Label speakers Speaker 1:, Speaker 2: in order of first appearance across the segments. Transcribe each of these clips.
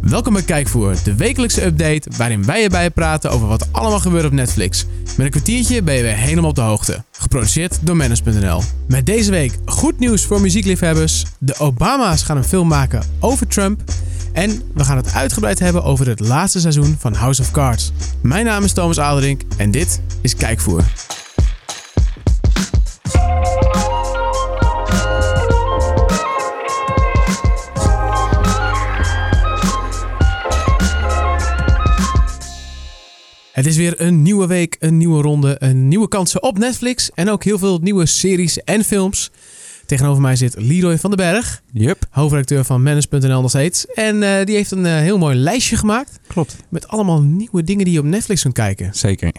Speaker 1: Welkom bij Kijkvoer, de wekelijkse update waarin wij erbij praten over wat allemaal gebeurt op Netflix. Met een kwartiertje ben je weer helemaal op de hoogte. Geproduceerd door Manus.nl. Met deze week goed nieuws voor muziekliefhebbers. De Obama's gaan een film maken over Trump. En we gaan het uitgebreid hebben over het laatste seizoen van House of Cards. Mijn naam is Thomas Aderink en dit is Kijkvoer. Het is weer een nieuwe week, een nieuwe ronde, een nieuwe kansen op Netflix. En ook heel veel nieuwe series en films. Tegenover mij zit Leroy van den Berg,
Speaker 2: Yep,
Speaker 1: hoofdredacteur van Manage.nl nog steeds. En eh, die heeft een eh, heel mooi lijstje gemaakt
Speaker 2: klopt.
Speaker 1: met allemaal nieuwe dingen die je op Netflix kunt kijken.
Speaker 2: Zeker.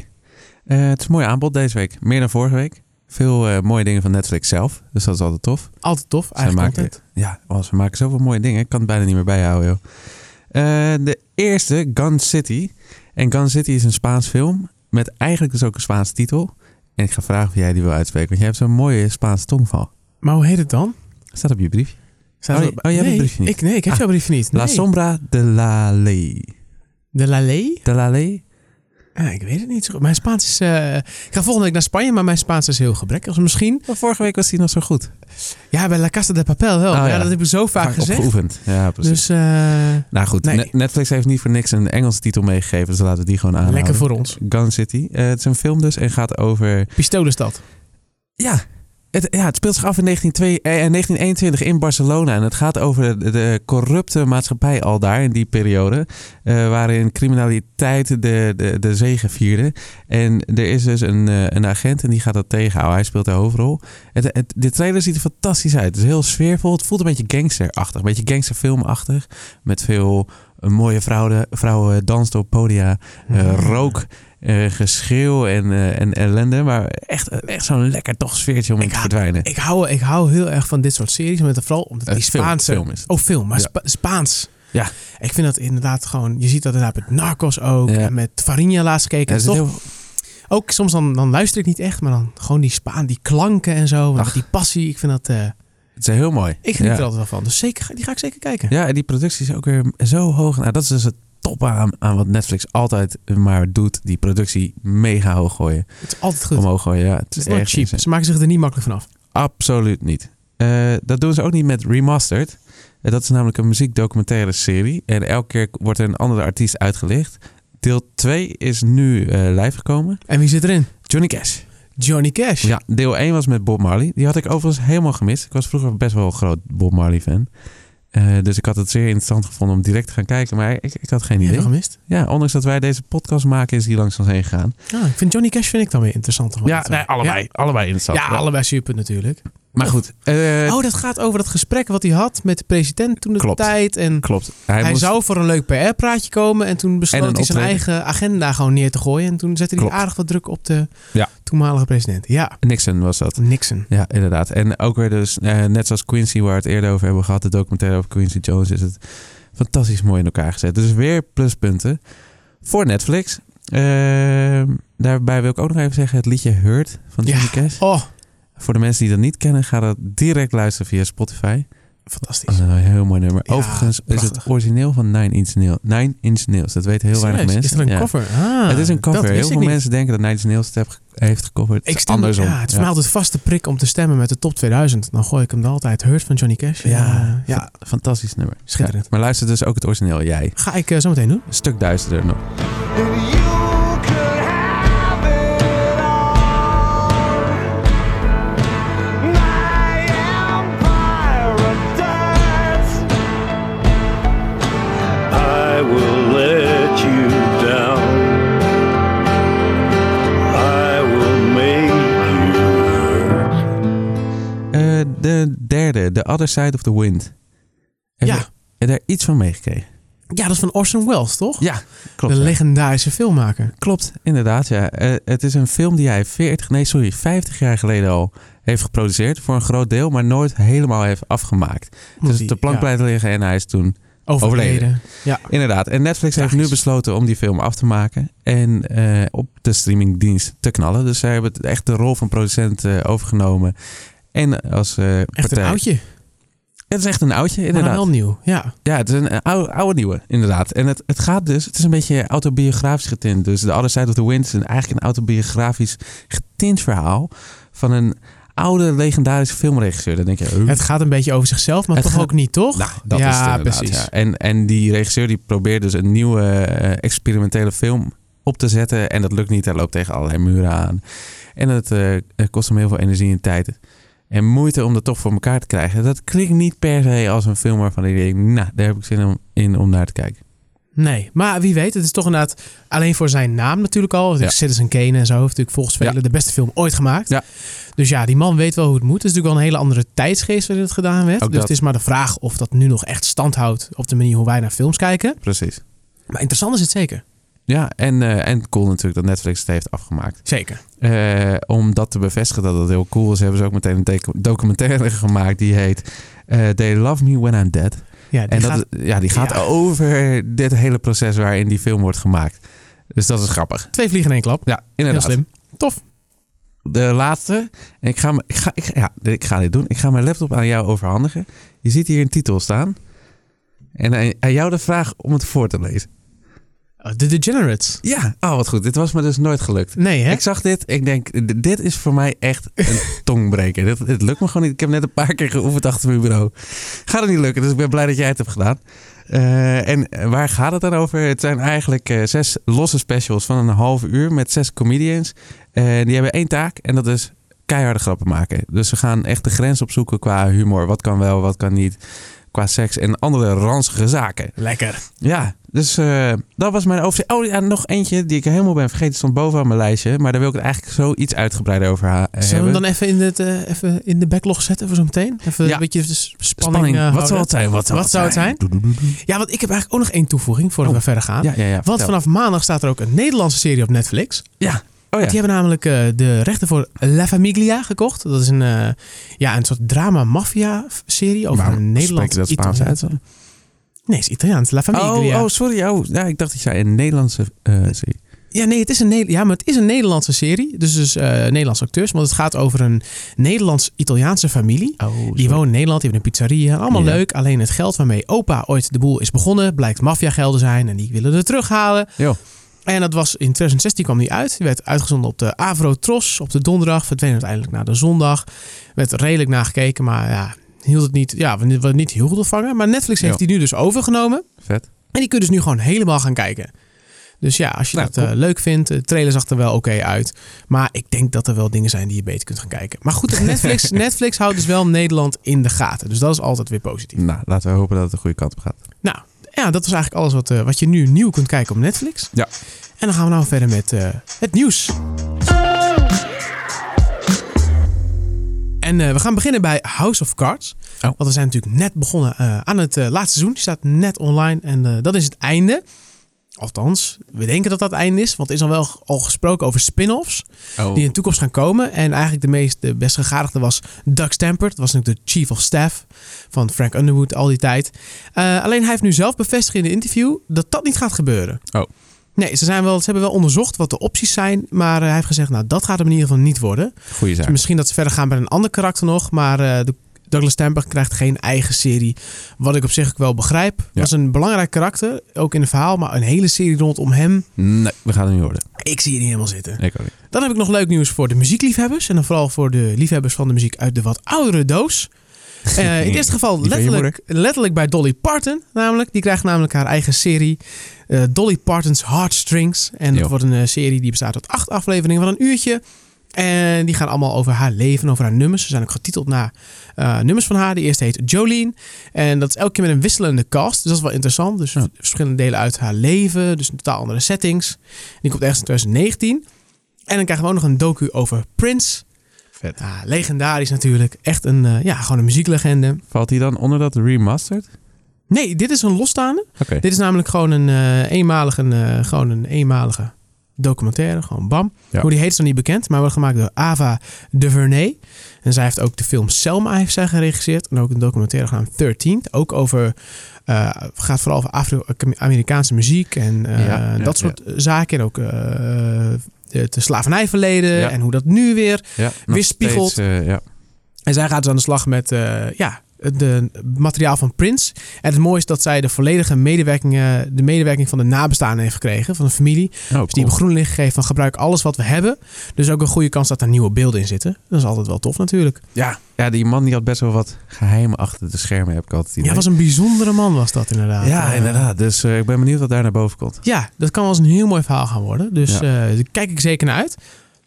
Speaker 2: Eh, het is een mooi aanbod deze week. Meer dan vorige week. Veel eh, mooie dingen van Netflix zelf. Dus dat is altijd tof.
Speaker 1: Altijd tof,
Speaker 2: Zij
Speaker 1: eigen
Speaker 2: maken-
Speaker 1: content.
Speaker 2: Ja, want ze maken zoveel mooie dingen. Ik kan het bijna niet meer bijhouden, joh. Eh, de eerste, Gun City. En Gun City is een Spaans film. Met eigenlijk dus ook een Spaanse titel. En ik ga vragen of jij die wil uitspreken. Want jij hebt zo'n mooie Spaanse tongval.
Speaker 1: Maar hoe heet het dan?
Speaker 2: Staat op je briefje.
Speaker 1: Staat
Speaker 2: Oh,
Speaker 1: er-
Speaker 2: je- oh, jij hebt
Speaker 1: nee,
Speaker 2: het briefje niet.
Speaker 1: Ik, nee, ik heb
Speaker 2: Ah,
Speaker 1: jouw briefje niet.
Speaker 2: La
Speaker 1: Nee.
Speaker 2: Sombra de la Ley.
Speaker 1: De La Ley?
Speaker 2: De la Ley?
Speaker 1: Ah, ik weet het niet zo goed. Mijn Spaans is... eh, ik ga volgende week naar Spanje, maar mijn Spaans is heel gebrekkig. Dus misschien...
Speaker 2: Maar vorige week was die nog zo goed.
Speaker 1: Ja, bij La Casa de Papel wel.
Speaker 2: Oh,
Speaker 1: ja.
Speaker 2: ja.
Speaker 1: dat heb ik zo vaak, gezegd.
Speaker 2: opgeoefend. Ja, precies.
Speaker 1: Dus eh,
Speaker 2: Nou goed,
Speaker 1: Nee.
Speaker 2: Ne- Netflix heeft niet voor niks een Engelse titel meegegeven, dus laten we die gewoon aanhouden.
Speaker 1: lekker voor ons.
Speaker 2: Gun City. Eh, het is een film dus en gaat over...
Speaker 1: Pistolenstad.
Speaker 2: Ja, het, ja, het speelt zich af in 1902 eh, eh, 1921 in Barcelona. En het gaat over de, de corrupte maatschappij al daar in die periode. eh, waarin criminaliteit de, de, de zegen vierde. En er is dus een, eh, een agent en die gaat dat tegenhouden. Hij speelt de hoofdrol. Het, het, de trailer ziet er fantastisch uit. Het is heel sfeervol. Het voelt een beetje gangsterachtig. Een beetje gangsterfilmachtig. Met veel eh, mooie vrouwen, vrouwen dansen op podia. Eh,
Speaker 1: Mhm.
Speaker 2: rook, eh, geschreeuw en, eh, en ellende. Maar echt, echt zo'n lekker toch sfeertje om in
Speaker 1: Ik
Speaker 2: te
Speaker 1: hou-
Speaker 2: verdwijnen.
Speaker 1: Ik hou, ik hou heel erg van dit soort series. Met, vooral omdat
Speaker 2: Eh,
Speaker 1: die
Speaker 2: film-
Speaker 1: Spaanse...
Speaker 2: film is het.
Speaker 1: Oh, film. Maar
Speaker 2: Ja.
Speaker 1: Spa- Spaans.
Speaker 2: Ja.
Speaker 1: Ik vind dat inderdaad gewoon... Je ziet dat inderdaad met Narcos ook.
Speaker 2: Ja.
Speaker 1: En met Farinha laatst gekeken.
Speaker 2: Ja,
Speaker 1: En
Speaker 2: er zit
Speaker 1: toch,
Speaker 2: heel-
Speaker 1: Ook soms dan, dan luister ik niet echt. Maar dan gewoon die Spaan, die klanken en zo.
Speaker 2: Ach.
Speaker 1: Want die passie. Ik vind dat... eh,
Speaker 2: het is heel mooi.
Speaker 1: ik geniet
Speaker 2: ja.
Speaker 1: er altijd wel van. Dus zeker, ga- die ga ik zeker kijken.
Speaker 2: Ja, en die productie is ook weer zo hoog. Nou, dat is dus het top aan, aan wat Netflix altijd maar doet. Die productie mega hoog gooien.
Speaker 1: Het is altijd goed.
Speaker 2: Omhoog gooien, ja.
Speaker 1: Het is nooit
Speaker 2: echt
Speaker 1: cheap.
Speaker 2: insane.
Speaker 1: Ze maken zich er niet makkelijk vanaf.
Speaker 2: Absoluut niet. Eh, dat doen ze ook niet met Remastered. Eh, dat is namelijk een muziekdocumentaire serie. En elke keer wordt er een andere artiest uitgelicht. Deel 2 is nu eh live gekomen.
Speaker 1: En wie zit erin?
Speaker 2: Johnny Cash.
Speaker 1: Johnny Cash.
Speaker 2: Ja, deel 1 was met Bob Marley. Die had ik overigens helemaal gemist. Ik was vroeger best wel een groot Bob Marley fan. Eh, dus ik had het zeer interessant gevonden om direct te gaan kijken. Maar ik, ik had geen
Speaker 1: Heb je
Speaker 2: idee.
Speaker 1: gemist?
Speaker 2: Ja, ondanks dat wij deze podcast maken, is die langs ons heen gegaan.
Speaker 1: Ah, ik vind Johnny Cash vind ik dan weer interessant. om aan te- Ja.
Speaker 2: Allebei interessant.
Speaker 1: Ja, allebei super natuurlijk.
Speaker 2: Maar goed. eh,
Speaker 1: oh, dat gaat over dat gesprek wat hij had met de president toen de
Speaker 2: Klopt.
Speaker 1: tijd. En
Speaker 2: Klopt.
Speaker 1: hij
Speaker 2: moest-
Speaker 1: zou voor een leuk PR-praatje komen. En toen besloot
Speaker 2: En een
Speaker 1: hij zijn
Speaker 2: optreden.
Speaker 1: eigen agenda gewoon neer te gooien. En toen zette hij
Speaker 2: Klopt.
Speaker 1: aardig wat druk op de
Speaker 2: Ja.
Speaker 1: toenmalige president. Ja,
Speaker 2: Nixon was dat.
Speaker 1: Nixon.
Speaker 2: Ja, inderdaad. En ook weer dus, eh, net zoals Quincy, waar we het eerder over hebben gehad, de documentaire over Quincy Jones, is het fantastisch mooi in elkaar gezet. Dus weer pluspunten voor Netflix. Ehm, daarbij wil ik ook nog even zeggen, het liedje Hurt van Johnny
Speaker 1: Ja.
Speaker 2: Cash.
Speaker 1: Oh,
Speaker 2: Voor de mensen die dat niet kennen, ga dat direct luisteren via Spotify. Dat
Speaker 1: fantastisch.
Speaker 2: is een heel mooi nummer.
Speaker 1: Ja,
Speaker 2: Overigens is het
Speaker 1: prachtig.
Speaker 2: origineel van Nine Inch Nails. Nine Inch Nails, dat weten heel weinig
Speaker 1: Serieus,
Speaker 2: mensen.
Speaker 1: Is er een
Speaker 2: Ja.
Speaker 1: cover? Ah,
Speaker 2: het is een
Speaker 1: dat
Speaker 2: cover.
Speaker 1: wist
Speaker 2: Heel
Speaker 1: ik
Speaker 2: veel
Speaker 1: niet.
Speaker 2: mensen denken dat Nine Inch Nails het heeft ge- heeft gecoverd.
Speaker 1: Ik
Speaker 2: Het is
Speaker 1: stem,
Speaker 2: andersom.
Speaker 1: Ja, het is
Speaker 2: Ja.
Speaker 1: mij altijd vaste prik om te stemmen met de top 2000. Dan gooi ik hem er altijd. Hurt van Johnny Cash. Eh,
Speaker 2: Ja,
Speaker 1: ja.
Speaker 2: fantastisch nummer.
Speaker 1: Schitterend.
Speaker 2: Ja, maar luister dus ook het origineel, jij.
Speaker 1: Ga ik eh, zo meteen doen.
Speaker 2: Een stuk duisterder nog.
Speaker 3: And you could have it all. My empire of dust. I will let you down. I will make you hurt.
Speaker 2: Eh, de derde, The Other Side of the Wind. Heb
Speaker 1: Ja.
Speaker 2: je- Heb je daar iets van meegekregen?
Speaker 1: Ja, dat is van Orson Welles, toch?
Speaker 2: Ja, klopt.
Speaker 1: de
Speaker 2: ja.
Speaker 1: legendarische filmmaker.
Speaker 2: Klopt, inderdaad. Ja. Eh, het is een film die hij 40, nee sorry, 50 jaar geleden al heeft geproduceerd. Voor een groot deel, maar nooit helemaal heeft afgemaakt.
Speaker 1: Omdat
Speaker 2: Dus
Speaker 1: die,
Speaker 2: de plank
Speaker 1: ja,
Speaker 2: blijft liggen en hij is toen
Speaker 1: overleden. Ja.
Speaker 2: Inderdaad. En Netflix heeft
Speaker 1: Tragisch.
Speaker 2: nu besloten om die film af te maken. En eh, op de streamingdienst te knallen. Dus zij hebben het- echt de rol van producent eh, overgenomen. En als eh,
Speaker 1: Echt een
Speaker 2: partij.
Speaker 1: oudje.
Speaker 2: Het is echt een oudje,
Speaker 1: Maar dan
Speaker 2: inderdaad.
Speaker 1: wel nieuw. Ja.
Speaker 2: Ja, het is een eh, oude, oude nieuwe, inderdaad. En het, het gaat dus, het is een beetje autobiografisch getint. Dus The Other Side of the Wind is een- eigenlijk een autobiografisch getint verhaal van een oude legendarische filmregisseur. Dan denk je, huh?
Speaker 1: Het gaat een beetje over zichzelf, maar
Speaker 2: Het
Speaker 1: toch
Speaker 2: gaat-
Speaker 1: ook niet, toch?
Speaker 2: nou, dat
Speaker 1: ja,
Speaker 2: is het inderdaad,
Speaker 1: precies.
Speaker 2: ja. En, en die regisseur die probeert dus een nieuwe eh, experimentele film op te zetten. En dat lukt niet, hij loopt tegen allerlei muren aan. En het eh, kost hem heel veel energie en tijd. En moeite om dat toch voor elkaar te krijgen. Dat klinkt niet per se als een film waarvan ik denk, nou, daar heb ik zin om, in om naar te kijken.
Speaker 1: Nee, maar wie weet, het is toch inderdaad alleen voor zijn naam natuurlijk al.
Speaker 2: Ja.
Speaker 1: Citizen Kane en zo heeft natuurlijk volgens velen
Speaker 2: Ja.
Speaker 1: de beste film ooit gemaakt.
Speaker 2: Ja.
Speaker 1: Dus ja, die man weet wel hoe het moet. Het is natuurlijk wel een hele andere tijdsgeest waarin het gedaan werd.
Speaker 2: Ook
Speaker 1: dus
Speaker 2: dat.
Speaker 1: het is maar de vraag of dat nu nog echt stand houdt op de manier hoe wij naar films kijken.
Speaker 2: Precies.
Speaker 1: Maar interessant is het zeker.
Speaker 2: Ja, en, eh, en cool natuurlijk dat Netflix het heeft afgemaakt.
Speaker 1: Zeker.
Speaker 2: Eh, om dat te bevestigen dat dat heel cool is, hebben ze ook meteen een docu- documentaire gemaakt die heet eh, They Love Me When I'm Dead.
Speaker 1: Ja, die
Speaker 2: En
Speaker 1: gaat-
Speaker 2: dat, ja, die gaat
Speaker 1: ja.
Speaker 2: over dit hele proces waarin die film wordt gemaakt. Dus dat is grappig.
Speaker 1: twee vliegen in één klap.
Speaker 2: Ja,
Speaker 1: Heel
Speaker 2: inderdaad.
Speaker 1: slim. Tof.
Speaker 2: De laatste. En ik ga, me- ik, ga, ik, ja, ik ga dit doen. Ik ga mijn laptop aan jou overhandigen. Je ziet hier een titel staan. En aan- aan jou de vraag om het voor te lezen.
Speaker 1: Oh, De Degenerates.
Speaker 2: Ja, oh wat goed. Dit was me dus nooit gelukt.
Speaker 1: Nee, hè?
Speaker 2: Ik zag dit, ik denk, d- dit is voor mij echt een tongbreker. dit, dit lukt me gewoon niet. Ik heb net een paar keer geoefend achter mijn bureau. Gaat het niet lukken, dus ik ben blij dat jij het hebt gedaan. Eh, en waar gaat het dan over? Het zijn eigenlijk eh, zes losse specials van een half uur met zes comedians. En die hebben één taak en dat is keiharde grappen maken. Dus ze gaan echt de grens opzoeken qua humor. Wat kan wel, wat kan niet. Qua seks en andere ranzige zaken.
Speaker 1: Lekker.
Speaker 2: Ja, dus eh, dat was mijn overzicht. Oh ja, nog eentje die ik helemaal ben vergeten. Stond bovenaan mijn lijstje. Maar daar wil ik het eigenlijk zo iets uitgebreider over ha- eh,
Speaker 1: Zullen we
Speaker 2: hebben.
Speaker 1: hem dan even in, het, eh, even in de backlog zetten voor zo meteen? Even
Speaker 2: Ja.
Speaker 1: een beetje s- spanning,
Speaker 2: Spanning.
Speaker 1: eh,
Speaker 2: wat
Speaker 1: houden.
Speaker 2: zou het zijn? Wat zou,
Speaker 1: Wat zou het zijn? Ah, Ja, want ik heb eigenlijk ook nog één toevoeging voordat
Speaker 2: Oh.
Speaker 1: we verder gaan.
Speaker 2: Ja, ja, ja.
Speaker 1: Want
Speaker 2: vertel.
Speaker 1: vanaf maandag staat er ook een Nederlandse serie op Netflix.
Speaker 2: Ja. Oh ja.
Speaker 1: Die hebben namelijk eh, de rechten voor La Famiglia gekocht. Dat is een, eh, ja, een soort drama-maffia-serie over
Speaker 2: Waarom
Speaker 1: een
Speaker 2: spreek
Speaker 1: Nederlands...
Speaker 2: je dat Spaans
Speaker 1: Italiaans-
Speaker 2: uit? dan?
Speaker 1: Nee, het is Italiaans. La Famiglia.
Speaker 2: Oh, oh, sorry. Oh, ja, ik dacht dat jij een Nederlandse eh serie.
Speaker 1: Ja, nee, het is een, Ne- ja, maar het is een Nederlandse serie. Dus dus eh Nederlandse acteurs. Want het gaat over een Nederlands-Italiaanse familie.
Speaker 2: Oh,
Speaker 1: Die wonen in Nederland, die hebben een pizzeria. Allemaal
Speaker 2: Ja.
Speaker 1: leuk. Alleen het geld waarmee opa ooit de boel is begonnen... blijkt maffiagelden zijn en die willen het terughalen.
Speaker 2: Jo.
Speaker 1: En dat was in 2016 kwam die uit. Die werd uitgezonden op de Avro Tros op de donderdag. Verdween uiteindelijk naar de zondag. Werd redelijk nagekeken, maar ja, hield het niet, ja, we- we niet heel goed ontvangen. Maar Netflix heeft
Speaker 2: Ja.
Speaker 1: die nu dus overgenomen.
Speaker 2: Vet.
Speaker 1: En die kun je dus nu gewoon helemaal gaan kijken. Dus ja, als je
Speaker 2: Nou,
Speaker 1: dat eh, leuk vindt, de trailer zag er wel oké uit. Maar ik denk dat er wel dingen zijn die je beter kunt gaan kijken. Maar goed, Netflix, Netflix houdt dus wel Nederland in de gaten. Dus dat is altijd weer positief.
Speaker 2: Nou, laten we hopen dat het de goede kant op gaat.
Speaker 1: Nou, ja, dat was eigenlijk alles wat, eh, wat je nu nieuw kunt kijken op Netflix.
Speaker 2: Ja.
Speaker 1: En dan gaan we nou verder met eh, het nieuws. En eh, we gaan beginnen bij House of Cards.
Speaker 2: Oh.
Speaker 1: Want we zijn natuurlijk net begonnen eh, aan het eh, laatste seizoen. Die staat net online en eh, dat is het einde. Althans, we denken dat dat het einde is. Want er is al wel g- al gesproken over spin-offs
Speaker 2: Oh.
Speaker 1: die in de toekomst gaan komen. En eigenlijk de meest de best gegadigde was Doug Stamper. Dat was natuurlijk de chief of staff van Frank Underwood al die tijd. Eh, alleen hij heeft nu zelf bevestigd in de interview dat dat niet gaat gebeuren.
Speaker 2: Oh.
Speaker 1: Nee, ze, zijn wel, ze hebben wel onderzocht wat de opties zijn. Maar eh, hij heeft gezegd, nou dat gaat hem in ieder geval niet worden.
Speaker 2: Goeie zaak.
Speaker 1: Dus misschien dat ze verder gaan met een ander karakter nog. Maar eh, de Douglas Stamper krijgt geen eigen serie. Wat ik op zich ook wel begrijp. Dat
Speaker 2: Ja.
Speaker 1: is een belangrijk karakter, ook in het verhaal. Maar een hele serie rondom hem,
Speaker 2: Nee, we gaan het niet worden.
Speaker 1: ik zie het niet helemaal zitten.
Speaker 2: Ik ook niet.
Speaker 1: Dan heb ik nog leuk nieuws voor de muziekliefhebbers. En dan vooral voor de liefhebbers van de muziek uit de wat oudere doos. Eh, in het eerste geval
Speaker 2: Die van je
Speaker 1: letterlijk, letterlijk bij Dolly Parton. Namelijk. Die krijgt namelijk haar eigen serie. eh, Dolly Parton's Heartstrings. En dat
Speaker 2: Jo.
Speaker 1: wordt een eh, serie die bestaat uit acht afleveringen van een uurtje. En die gaan allemaal over haar leven, over haar nummers. Ze zijn ook getiteld naar eh, nummers van haar. De eerste heet Jolene. En dat is elke keer met een wisselende cast. Dus dat is wel interessant. Dus
Speaker 2: Ja.
Speaker 1: verschillende delen uit haar leven. Dus een totaal andere settings. Die komt ergens in 2019. En dan krijgen we ook nog een docu over Prince.
Speaker 2: Vet.
Speaker 1: Ah, legendarisch natuurlijk. Echt een, eh, ja, gewoon een muzieklegende.
Speaker 2: Valt hij dan onder dat remastered?
Speaker 1: Nee, dit is een losstaande.
Speaker 2: Oké.
Speaker 1: Dit is namelijk gewoon een, eh, eenmalige, eh, gewoon een eenmalige documentaire. Gewoon bam.
Speaker 2: Ja.
Speaker 1: Hoe die heet is dan niet bekend, maar wordt gemaakt door Ava DuVernay. En zij heeft ook de film Selma heeft zij geregisseerd. En ook een documentaire genaamd 13. Ook over, eh, gaat vooral over Afro-Amerikaanse muziek en eh,
Speaker 2: Ja, ja,
Speaker 1: dat soort zaken. En ook eh, het slavernijverleden
Speaker 2: Ja.
Speaker 1: en hoe dat nu weer
Speaker 2: Ja, nog
Speaker 1: Weerspiegeld.
Speaker 2: steeds, eh, ja.
Speaker 1: en zij gaat dus aan de slag met eh, ja, de materiaal van Prince. En het mooie is dat zij de volledige medewerking, eh, de medewerking van de nabestaanden heeft gekregen, van de familie.
Speaker 2: Oh,
Speaker 1: Dus die hebben groen licht gegeven van gebruik alles wat we hebben. Dus ook een goede kans dat daar nieuwe beelden in zitten. Dat is altijd wel tof natuurlijk.
Speaker 2: Ja. ja, die man die had best wel wat geheimen achter de schermen, heb ik altijd het
Speaker 1: Ja,
Speaker 2: idee.
Speaker 1: was een bijzondere man was dat inderdaad.
Speaker 2: ja
Speaker 1: Eh,
Speaker 2: inderdaad. Dus eh, ik ben benieuwd wat daar naar boven komt.
Speaker 1: Ja, dat kan wel eens een heel mooi verhaal gaan worden. Dus
Speaker 2: Ja.
Speaker 1: eh, daar kijk ik zeker naar uit.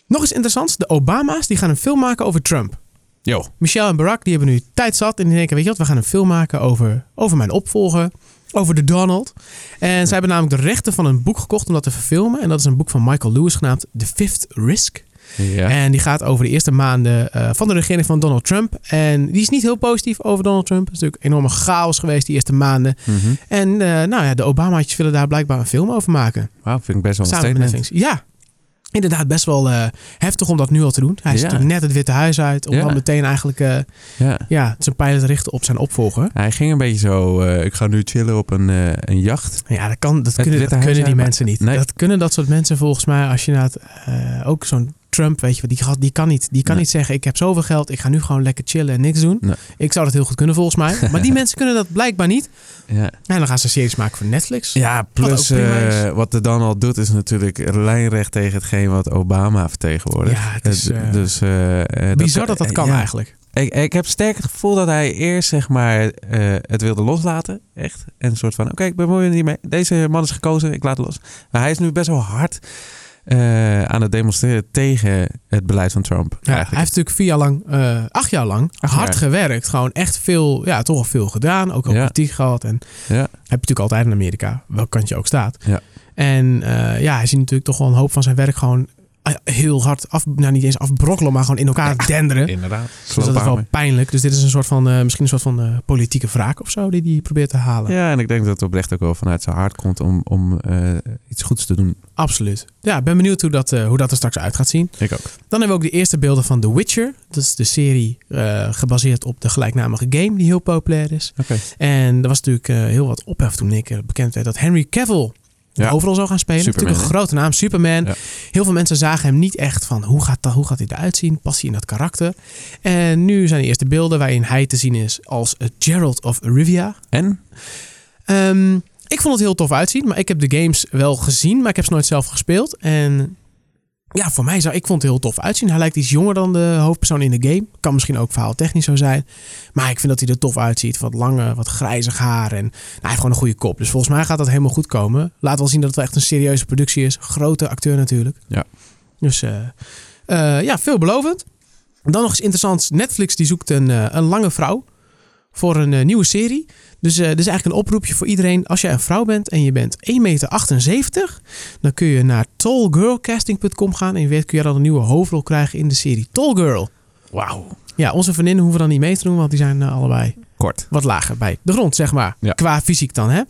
Speaker 1: Nog eens interessants. De Obama's die gaan een film maken over Trump.
Speaker 2: Jo.
Speaker 1: Michelle en Barack die hebben nu tijd zat. En die denken, weet je wat, we gaan een film maken over, over mijn opvolger. Over de Donald. En zij hebben namelijk de rechten van een boek gekocht om dat te verfilmen. En dat is een boek van Michael Lewis genaamd The Fifth Risk.
Speaker 2: Ja.
Speaker 1: En die gaat over de eerste maanden eh, van de regering van Donald Trump. En die is niet heel positief over Donald Trump. Het is natuurlijk enorme chaos geweest die eerste maanden.
Speaker 2: Mhm.
Speaker 1: En eh, nou ja, de Obamaatjes willen daar blijkbaar een film over maken.
Speaker 2: Wauw, vind ik best wel een
Speaker 1: samen met
Speaker 2: statement.
Speaker 1: Netflix. Ja, inderdaad best wel eh, heftig om dat nu al te doen. Hij is
Speaker 2: Ja.
Speaker 1: natuurlijk net het Witte Huis uit. Om
Speaker 2: Ja.
Speaker 1: dan meteen eigenlijk eh,
Speaker 2: Ja.
Speaker 1: ja, zijn pijlen te richten op zijn opvolger.
Speaker 2: Hij ging een beetje zo, eh, ik ga nu chillen op een, eh, een jacht.
Speaker 1: Ja, dat, kan, dat
Speaker 2: Het
Speaker 1: kunnen, dat
Speaker 2: Witte Huis
Speaker 1: kunnen die
Speaker 2: uit, maar-
Speaker 1: mensen niet.
Speaker 2: Nee.
Speaker 1: Dat kunnen dat soort mensen volgens mij. Als je inderdaad eh, ook zo'n Trump, weet je, wel, die, gaat- die kan, niet, die kan
Speaker 2: Nee.
Speaker 1: niet zeggen: Ik heb zoveel geld, ik ga nu gewoon lekker chillen en niks doen.
Speaker 2: Nee.
Speaker 1: Ik zou dat heel goed kunnen volgens mij. Maar die mensen kunnen dat blijkbaar niet.
Speaker 2: Ja,
Speaker 1: En dan gaan ze series maken voor Netflix.
Speaker 2: ja plus
Speaker 1: ook prima
Speaker 2: eh, wat de Donald doet is natuurlijk lijnrecht tegen hetgeen wat Obama vertegenwoordigt.
Speaker 1: Ja, het is,
Speaker 2: Eh, d-
Speaker 1: eh,
Speaker 2: dus, eh, eh,
Speaker 1: Bizar dat dat kan
Speaker 2: ja.
Speaker 1: eigenlijk.
Speaker 2: Ik, ik heb sterk het gevoel dat hij eerst zeg maar, eh, het wilde loslaten. Echt. En een soort van, oké, ik bemoei me niet mee. Deze man is gekozen, ik laat het los. Maar hij is nu best wel hard eh, aan het demonstreren tegen het beleid van Trump.
Speaker 1: Ja, hij heeft
Speaker 2: eigenlijk.
Speaker 1: natuurlijk vier jaar lang, eh, acht jaar lang,
Speaker 2: Acht
Speaker 1: hard
Speaker 2: jaar.
Speaker 1: gewerkt. Gewoon echt veel, ja, toch wel veel gedaan. Ook al
Speaker 2: Ja.
Speaker 1: kritiek gehad. En
Speaker 2: Ja.
Speaker 1: heb je natuurlijk altijd in Amerika, welk kant je ook staat.
Speaker 2: Ja.
Speaker 1: En eh, ja, hij ziet natuurlijk toch wel een hoop van zijn werk gewoon eh, heel hard af, nou niet eens afbrokkelen, maar gewoon in elkaar denderen.
Speaker 2: Inderdaad.
Speaker 1: Dus dat is wel pijnlijk. Dus dit is een soort van, eh, misschien een soort van eh, politieke wraak of zo, die hij probeert te halen.
Speaker 2: Ja, en ik denk dat het oprecht ook wel vanuit zijn hart komt om, om eh, iets goeds te doen.
Speaker 1: Absoluut. Ja, ik ben benieuwd hoe dat, eh, hoe dat er straks uit gaat zien.
Speaker 2: Ik ook.
Speaker 1: Dan hebben we ook de eerste beelden van The Witcher. Dat is de serie eh, gebaseerd op de gelijknamige game die heel populair is.
Speaker 2: Oké.
Speaker 1: En er was natuurlijk eh, heel wat ophef toen ik eh, bekend werd dat Henry Cavill
Speaker 2: Ja.
Speaker 1: overal zou gaan spelen.
Speaker 2: Superman,
Speaker 1: natuurlijk een grote naam, Superman.
Speaker 2: Ja.
Speaker 1: Heel veel mensen zagen hem niet echt van hoe gaat, dat, hoe gaat hij eruit zien? Past hij in dat karakter? En nu zijn de eerste beelden waarin hij te zien is als eh, Geralt of Rivia.
Speaker 2: En?
Speaker 1: Ehm, ik vond het heel tof uitzien, maar ik heb de games wel gezien, maar ik heb ze nooit zelf gespeeld. En ja, voor mij zou ik vond het heel tof uitzien. Hij lijkt iets jonger dan de hoofdpersoon in de game. Kan misschien ook verhaaltechnisch zo zijn. Maar ik vind dat hij er tof uitziet. Wat lange, wat grijzig haar. En nou, hij heeft gewoon een goede kop. Dus volgens mij gaat dat helemaal goed komen. Laat wel zien dat het wel echt een serieuze productie is. Grote acteur natuurlijk.
Speaker 2: Ja.
Speaker 1: Dus eh, eh, ja, veelbelovend. Dan nog eens interessant. Netflix die zoekt een, eh, een lange vrouw voor een eh, nieuwe serie. Dus eh dit is eigenlijk een oproepje voor iedereen. Als jij een vrouw bent en je bent 1,78 meter, dan kun je naar tallgirlcasting.com gaan. En je weet kun je dan een nieuwe hoofdrol krijgen in de serie Tall Girl.
Speaker 2: Wauw.
Speaker 1: Ja, onze vriendinnen hoeven dan niet mee te doen, want die zijn eh, allebei
Speaker 2: Kort.
Speaker 1: wat lager bij de grond, zeg maar.
Speaker 2: Ja.
Speaker 1: Qua fysiek dan, hè.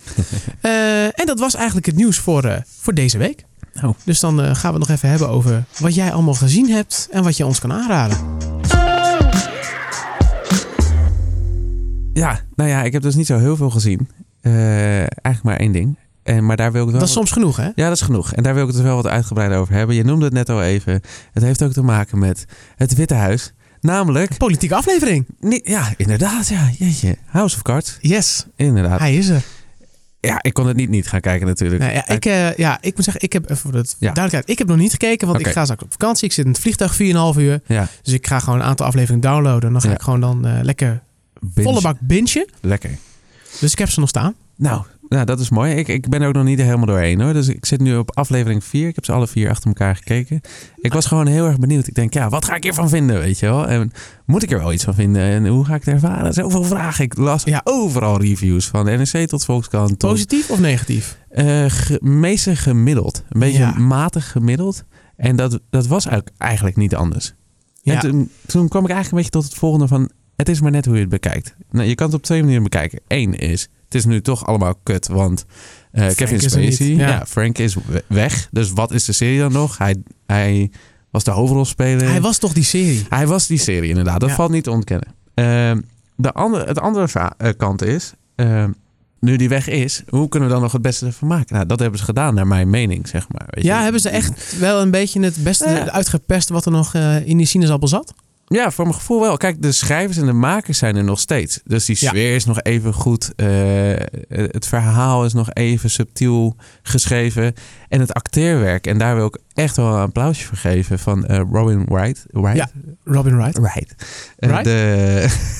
Speaker 1: Eh, en dat was eigenlijk het nieuws voor, eh, voor deze week.
Speaker 2: Oh.
Speaker 1: Dus dan eh, gaan we het nog even hebben over wat jij allemaal gezien hebt en wat je ons kan aanraden.
Speaker 2: Ja, nou ja, ik heb dus niet zo heel veel gezien. Eh, eigenlijk maar één ding. En, maar daar wil ik wel...
Speaker 1: Dat is soms genoeg, hè?
Speaker 2: Ja, dat is genoeg. En daar wil ik het dus wel wat uitgebreider over hebben. Je noemde het net al even. Het heeft ook te maken met het Witte Huis. Namelijk...
Speaker 1: Politieke aflevering.
Speaker 2: Niet, ja, inderdaad. Ja, jeetje. House of Cards.
Speaker 1: Yes,
Speaker 2: Inderdaad.
Speaker 1: hij is er.
Speaker 2: Ja, ik kon het niet niet gaan kijken natuurlijk.
Speaker 1: Nou ja, ik, eh, ja, ik moet zeggen, ik heb eh, voor het
Speaker 2: Ja.
Speaker 1: duidelijkheid, ik heb nog niet gekeken, want
Speaker 2: Oké.
Speaker 1: ik ga straks op vakantie. Ik zit in het vliegtuig 4,5 uur.
Speaker 2: Ja,
Speaker 1: Dus ik ga gewoon een aantal afleveringen downloaden. En dan ga
Speaker 2: Ja.
Speaker 1: ik gewoon dan eh, lekker
Speaker 2: binge.
Speaker 1: volle bak bingen.
Speaker 2: Lekker.
Speaker 1: Dus ik heb ze nog staan.
Speaker 2: Nou, nou, dat is mooi. Ik, ik ben er ook nog niet helemaal doorheen hoor. Dus ik zit nu op aflevering 4. Ik heb ze alle vier achter elkaar gekeken. Ik was gewoon heel erg benieuwd. Ik denk, ja, wat ga ik hiervan vinden? Weet je wel? En moet ik er wel iets van vinden? En hoe ga ik het ervaren? Zoveel vragen. Ik las
Speaker 1: Ja.
Speaker 2: overal reviews van NEC tot Volkskrant. Tot,
Speaker 1: Positief of negatief?
Speaker 2: eh, ge- meeste gemiddeld. Een beetje
Speaker 1: Ja.
Speaker 2: matig gemiddeld. En dat, dat was ook eigenlijk niet anders.
Speaker 1: Ja.
Speaker 2: En toen, toen kwam ik eigenlijk een beetje tot het volgende van... Het is maar net hoe je het bekijkt. Nou, je kan het op twee manieren bekijken. Eén is, het is nu toch allemaal kut, want eh, Kevin
Speaker 1: is er niet,
Speaker 2: Spacey...
Speaker 1: ja.
Speaker 2: ja. Frank is we- weg. Dus wat is de serie dan nog? Hij, hij was de hoofdrolspeler.
Speaker 1: Hij was toch die serie?
Speaker 2: Hij was die serie inderdaad. Dat
Speaker 1: Ja.
Speaker 2: valt niet te ontkennen. Ehm, de andere, het andere va- eh, kant is... ehm, nu die weg is, hoe kunnen we dan nog het beste ervan maken? Nou, dat hebben ze gedaan, naar mijn mening, zeg maar. Weet
Speaker 1: Ja,
Speaker 2: je.
Speaker 1: hebben ze echt wel een beetje het beste
Speaker 2: Ja.
Speaker 1: uitgepest wat er nog eh, in die sinaasappel zat?
Speaker 2: Ja, voor mijn gevoel wel. Kijk, de schrijvers en de makers zijn er nog steeds. Dus die
Speaker 1: Ja.
Speaker 2: sfeer is nog even goed. eh, het verhaal is nog even subtiel geschreven. En het acteerwerk. En daar wil ik echt wel een applausje voor geven van eh, Robin Wright. Wright?
Speaker 1: Ja. Robin Wright.
Speaker 2: Right. Eh,
Speaker 1: Right?
Speaker 2: de-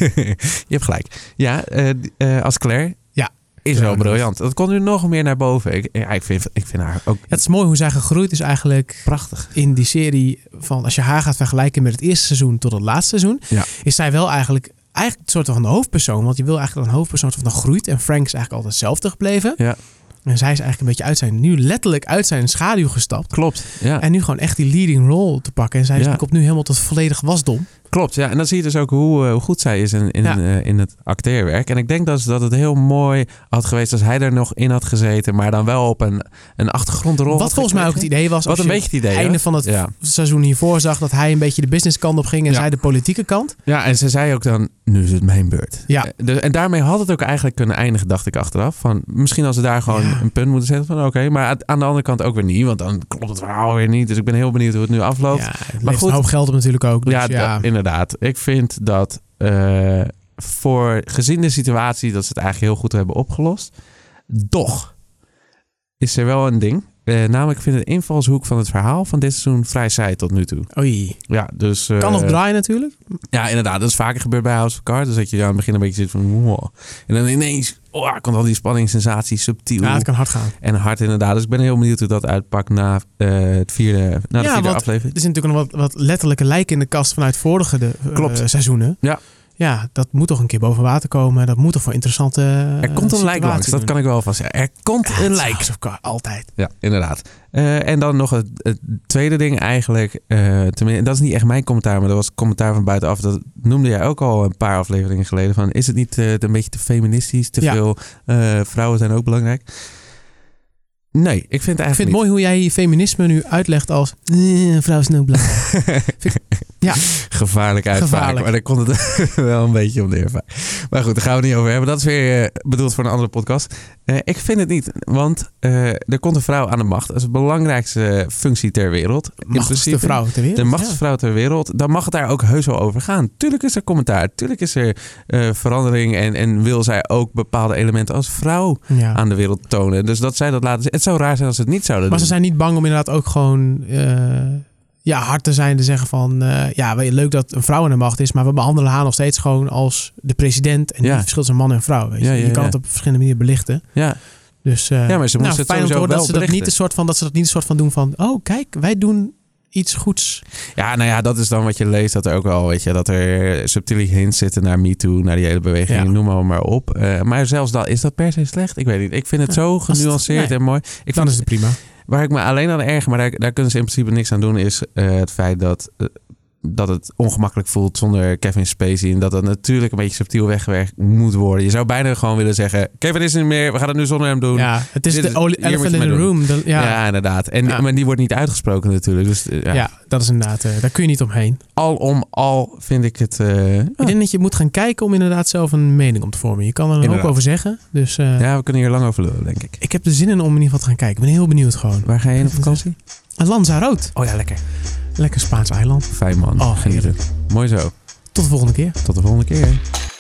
Speaker 2: je hebt gelijk. Ja, eh, d- eh, als Claire.
Speaker 1: Ja.
Speaker 2: Is
Speaker 1: Claire
Speaker 2: wel briljant. Dat kon nu nog meer naar boven. Ik, ja, ik, vind, ik vind haar ook
Speaker 1: Het is mooi hoe zij gegroeid is eigenlijk
Speaker 2: prachtig.
Speaker 1: in die serie. Van als je haar gaat vergelijken met het eerste seizoen tot het laatste seizoen.
Speaker 2: Ja.
Speaker 1: Is zij wel eigenlijk, eigenlijk een soort van de hoofdpersoon. Want je wil eigenlijk een hoofdpersoon soort van groeit. En Frank is eigenlijk altijd hetzelfde gebleven.
Speaker 2: Ja.
Speaker 1: En zij is eigenlijk een beetje uit zijn, nu letterlijk uit zijn schaduw gestapt.
Speaker 2: Klopt. Ja.
Speaker 1: En nu gewoon echt die leading role te pakken. En zij
Speaker 2: Ja.
Speaker 1: is komt nu helemaal tot volledig wasdom.
Speaker 2: Klopt, ja. En dan zie je dus ook hoe, eh, hoe goed zij is in, in,
Speaker 1: Ja.
Speaker 2: eh, in het acteerwerk. En ik denk dat, dat het heel mooi had geweest als hij er nog in had gezeten, maar dan wel op een, een achtergrondrol.
Speaker 1: Wat
Speaker 2: had
Speaker 1: volgens mij ook het
Speaker 2: gekregen.
Speaker 1: idee was.
Speaker 2: Wat
Speaker 1: als
Speaker 2: een
Speaker 1: je
Speaker 2: beetje het idee.
Speaker 1: einde
Speaker 2: hè?
Speaker 1: van het
Speaker 2: ja.
Speaker 1: seizoen hiervoor zag dat hij een beetje de businesskant op ging en
Speaker 2: Ja.
Speaker 1: zij de politieke kant.
Speaker 2: ja, en ze zei ook dan, nu is het mijn beurt.
Speaker 1: Ja.
Speaker 2: Eh, Dus, en daarmee had het ook eigenlijk kunnen eindigen, dacht ik achteraf. Van, misschien als ze daar gewoon
Speaker 1: Ja.
Speaker 2: een punt moeten zetten van oké, maar aan- aan de andere kant ook weer niet, want dan klopt het verhaal weer niet. Dus ik ben heel benieuwd hoe het nu afloopt.
Speaker 1: Ja, het
Speaker 2: Maar
Speaker 1: levert
Speaker 2: goed.
Speaker 1: een hoop geld op natuurlijk ook. Dus ja,
Speaker 2: ja, da- inderdaad. Ik vind dat eh, voor gezien de situatie dat ze het eigenlijk heel goed hebben opgelost. Doch is er wel een ding. Eh, namelijk vind ik de invalshoek van het verhaal van dit seizoen vrij saai tot nu toe.
Speaker 1: Oei.
Speaker 2: Ja, dus, eh,
Speaker 1: Kan nog draaien natuurlijk.
Speaker 2: Ja, inderdaad. Dat is vaker gebeurd bij House of Cards. Dus dat je aan het begin een beetje zit van... Wow. En dan ineens oh, komt al die spanning, sensatie, subtiel
Speaker 1: Ja, het kan hard gaan.
Speaker 2: en hard inderdaad. Dus ik ben heel benieuwd hoe dat uitpakt na, eh, het vierde, na de
Speaker 1: Ja,
Speaker 2: vierde
Speaker 1: want-
Speaker 2: aflevering.
Speaker 1: Er zit natuurlijk nog wat, wat letterlijke lijken in de kast vanuit vorige de, eh,
Speaker 2: Klopt.
Speaker 1: seizoenen.
Speaker 2: Ja.
Speaker 1: Ja, dat moet toch een keer boven water komen. Dat moet toch voor interessante eh,
Speaker 2: Er komt een lijk langs, dat kan ik wel vast zeggen. Er komt een lijk.
Speaker 1: altijd.
Speaker 2: Ja, inderdaad. Eh, en dan nog het, het tweede ding eigenlijk. eh, tenminste, dat is niet echt mijn commentaar, maar dat was commentaar van buitenaf. Dat noemde jij ook al een paar afleveringen geleden. Van, is het niet eh, een beetje te feministisch? Te
Speaker 1: Ja.
Speaker 2: veel eh, vrouwen zijn ook belangrijk? Nee, ik vind het eigenlijk
Speaker 1: Ik vind het
Speaker 2: niet.
Speaker 1: mooi hoe jij je feminisme nu uitlegt als... eh, vrouw is nooit belangrijk.
Speaker 2: Gevaarlijk uitvaak.
Speaker 1: Gevaarlijk.
Speaker 2: Maar daar komt het wel een beetje om neer. Maar goed, daar gaan we het niet over hebben. Dat is weer eh, bedoeld voor een andere podcast. Eh, ik vind het niet, want eh, er komt een vrouw aan de macht. Dat is de belangrijkste functie ter wereld. In
Speaker 1: Machtigste
Speaker 2: principe.
Speaker 1: vrouw ter wereld.
Speaker 2: De machtsvrouw ter wereld, dan mag het daar ook heus wel over gaan. Tuurlijk is er commentaar, tuurlijk is er eh, verandering en, en wil zij ook bepaalde elementen als vrouw
Speaker 1: Ja. Ja.
Speaker 2: aan de wereld tonen. Dus dat zij dat laten zien. Het zou raar zijn als ze het niet zouden
Speaker 1: Maar ze
Speaker 2: doen.
Speaker 1: zijn niet bang om inderdaad ook gewoon eh, ja, hard te zijn. Te zeggen van, eh, ja, weet je, leuk dat een vrouw aan de macht is. Maar we behandelen haar nog steeds gewoon als de president. En
Speaker 2: Ja.
Speaker 1: het verschil tussen man en vrouw. Weet je.
Speaker 2: Ja, ja,
Speaker 1: je kan
Speaker 2: ja.
Speaker 1: het op verschillende manieren belichten.
Speaker 2: Ja,
Speaker 1: Dus eh,
Speaker 2: Ja, maar ze moesten
Speaker 1: nou,
Speaker 2: het
Speaker 1: fijn om te
Speaker 2: sowieso
Speaker 1: horen
Speaker 2: wel
Speaker 1: dat ze dat, niet
Speaker 2: belichten.
Speaker 1: een soort van, dat ze dat niet een soort van doen van... Oh, kijk, wij doen iets goeds.
Speaker 2: ja, nou ja, dat is dan wat je leest. Dat er ook wel, weet je, dat er subtiele hints zitten naar MeToo, naar die hele beweging,
Speaker 1: Ja.
Speaker 2: noem maar, maar op. Eh, maar zelfs dat, is dat per se slecht? Ik weet niet. Ik vind het
Speaker 1: Ja,
Speaker 2: zo
Speaker 1: het-
Speaker 2: genuanceerd
Speaker 1: nee.
Speaker 2: en mooi. Ik vind
Speaker 1: Dan is het prima.
Speaker 2: Waar ik me alleen aan erg, maar daar, daar kunnen ze in principe niks aan doen, is eh, het feit dat, eh, dat het ongemakkelijk voelt zonder Kevin Spacey. En dat dat natuurlijk een beetje subtiel weggewerkt moet worden. Je zou bijna gewoon willen zeggen: Kevin is er niet meer, we gaan het nu zonder hem doen.
Speaker 1: Ja, het is
Speaker 2: Dit
Speaker 1: de
Speaker 2: is-
Speaker 1: ole-
Speaker 2: hier moet je
Speaker 1: elephant in
Speaker 2: mee
Speaker 1: the
Speaker 2: doen.
Speaker 1: room. De- ja, ja.
Speaker 2: Ja, inderdaad. En
Speaker 1: Ja.
Speaker 2: Maar die wordt niet uitgesproken natuurlijk. Dus eh, ja,
Speaker 1: dat is inderdaad... eh, daar kun je niet omheen.
Speaker 2: al om al vind ik het. eh,
Speaker 1: Ik denk dat je moet gaan kijken om inderdaad zelf een mening om te vormen. Je kan er een hoop
Speaker 2: Inderdaad.
Speaker 1: over zeggen. Dus eh,
Speaker 2: ja, we kunnen hier lang over lullen, denk ik.
Speaker 1: ik heb er zin in om in ieder geval te gaan kijken. Ik ben heel benieuwd gewoon.
Speaker 2: Waar ga je heen op vakantie?
Speaker 1: Lanzarote.
Speaker 2: Oh ja, lekker.
Speaker 1: Lekker Spaans eiland.
Speaker 2: Fijn man.
Speaker 1: Oh,
Speaker 2: Genieten. Mooi zo.
Speaker 1: Tot de volgende keer.
Speaker 2: Tot de volgende keer.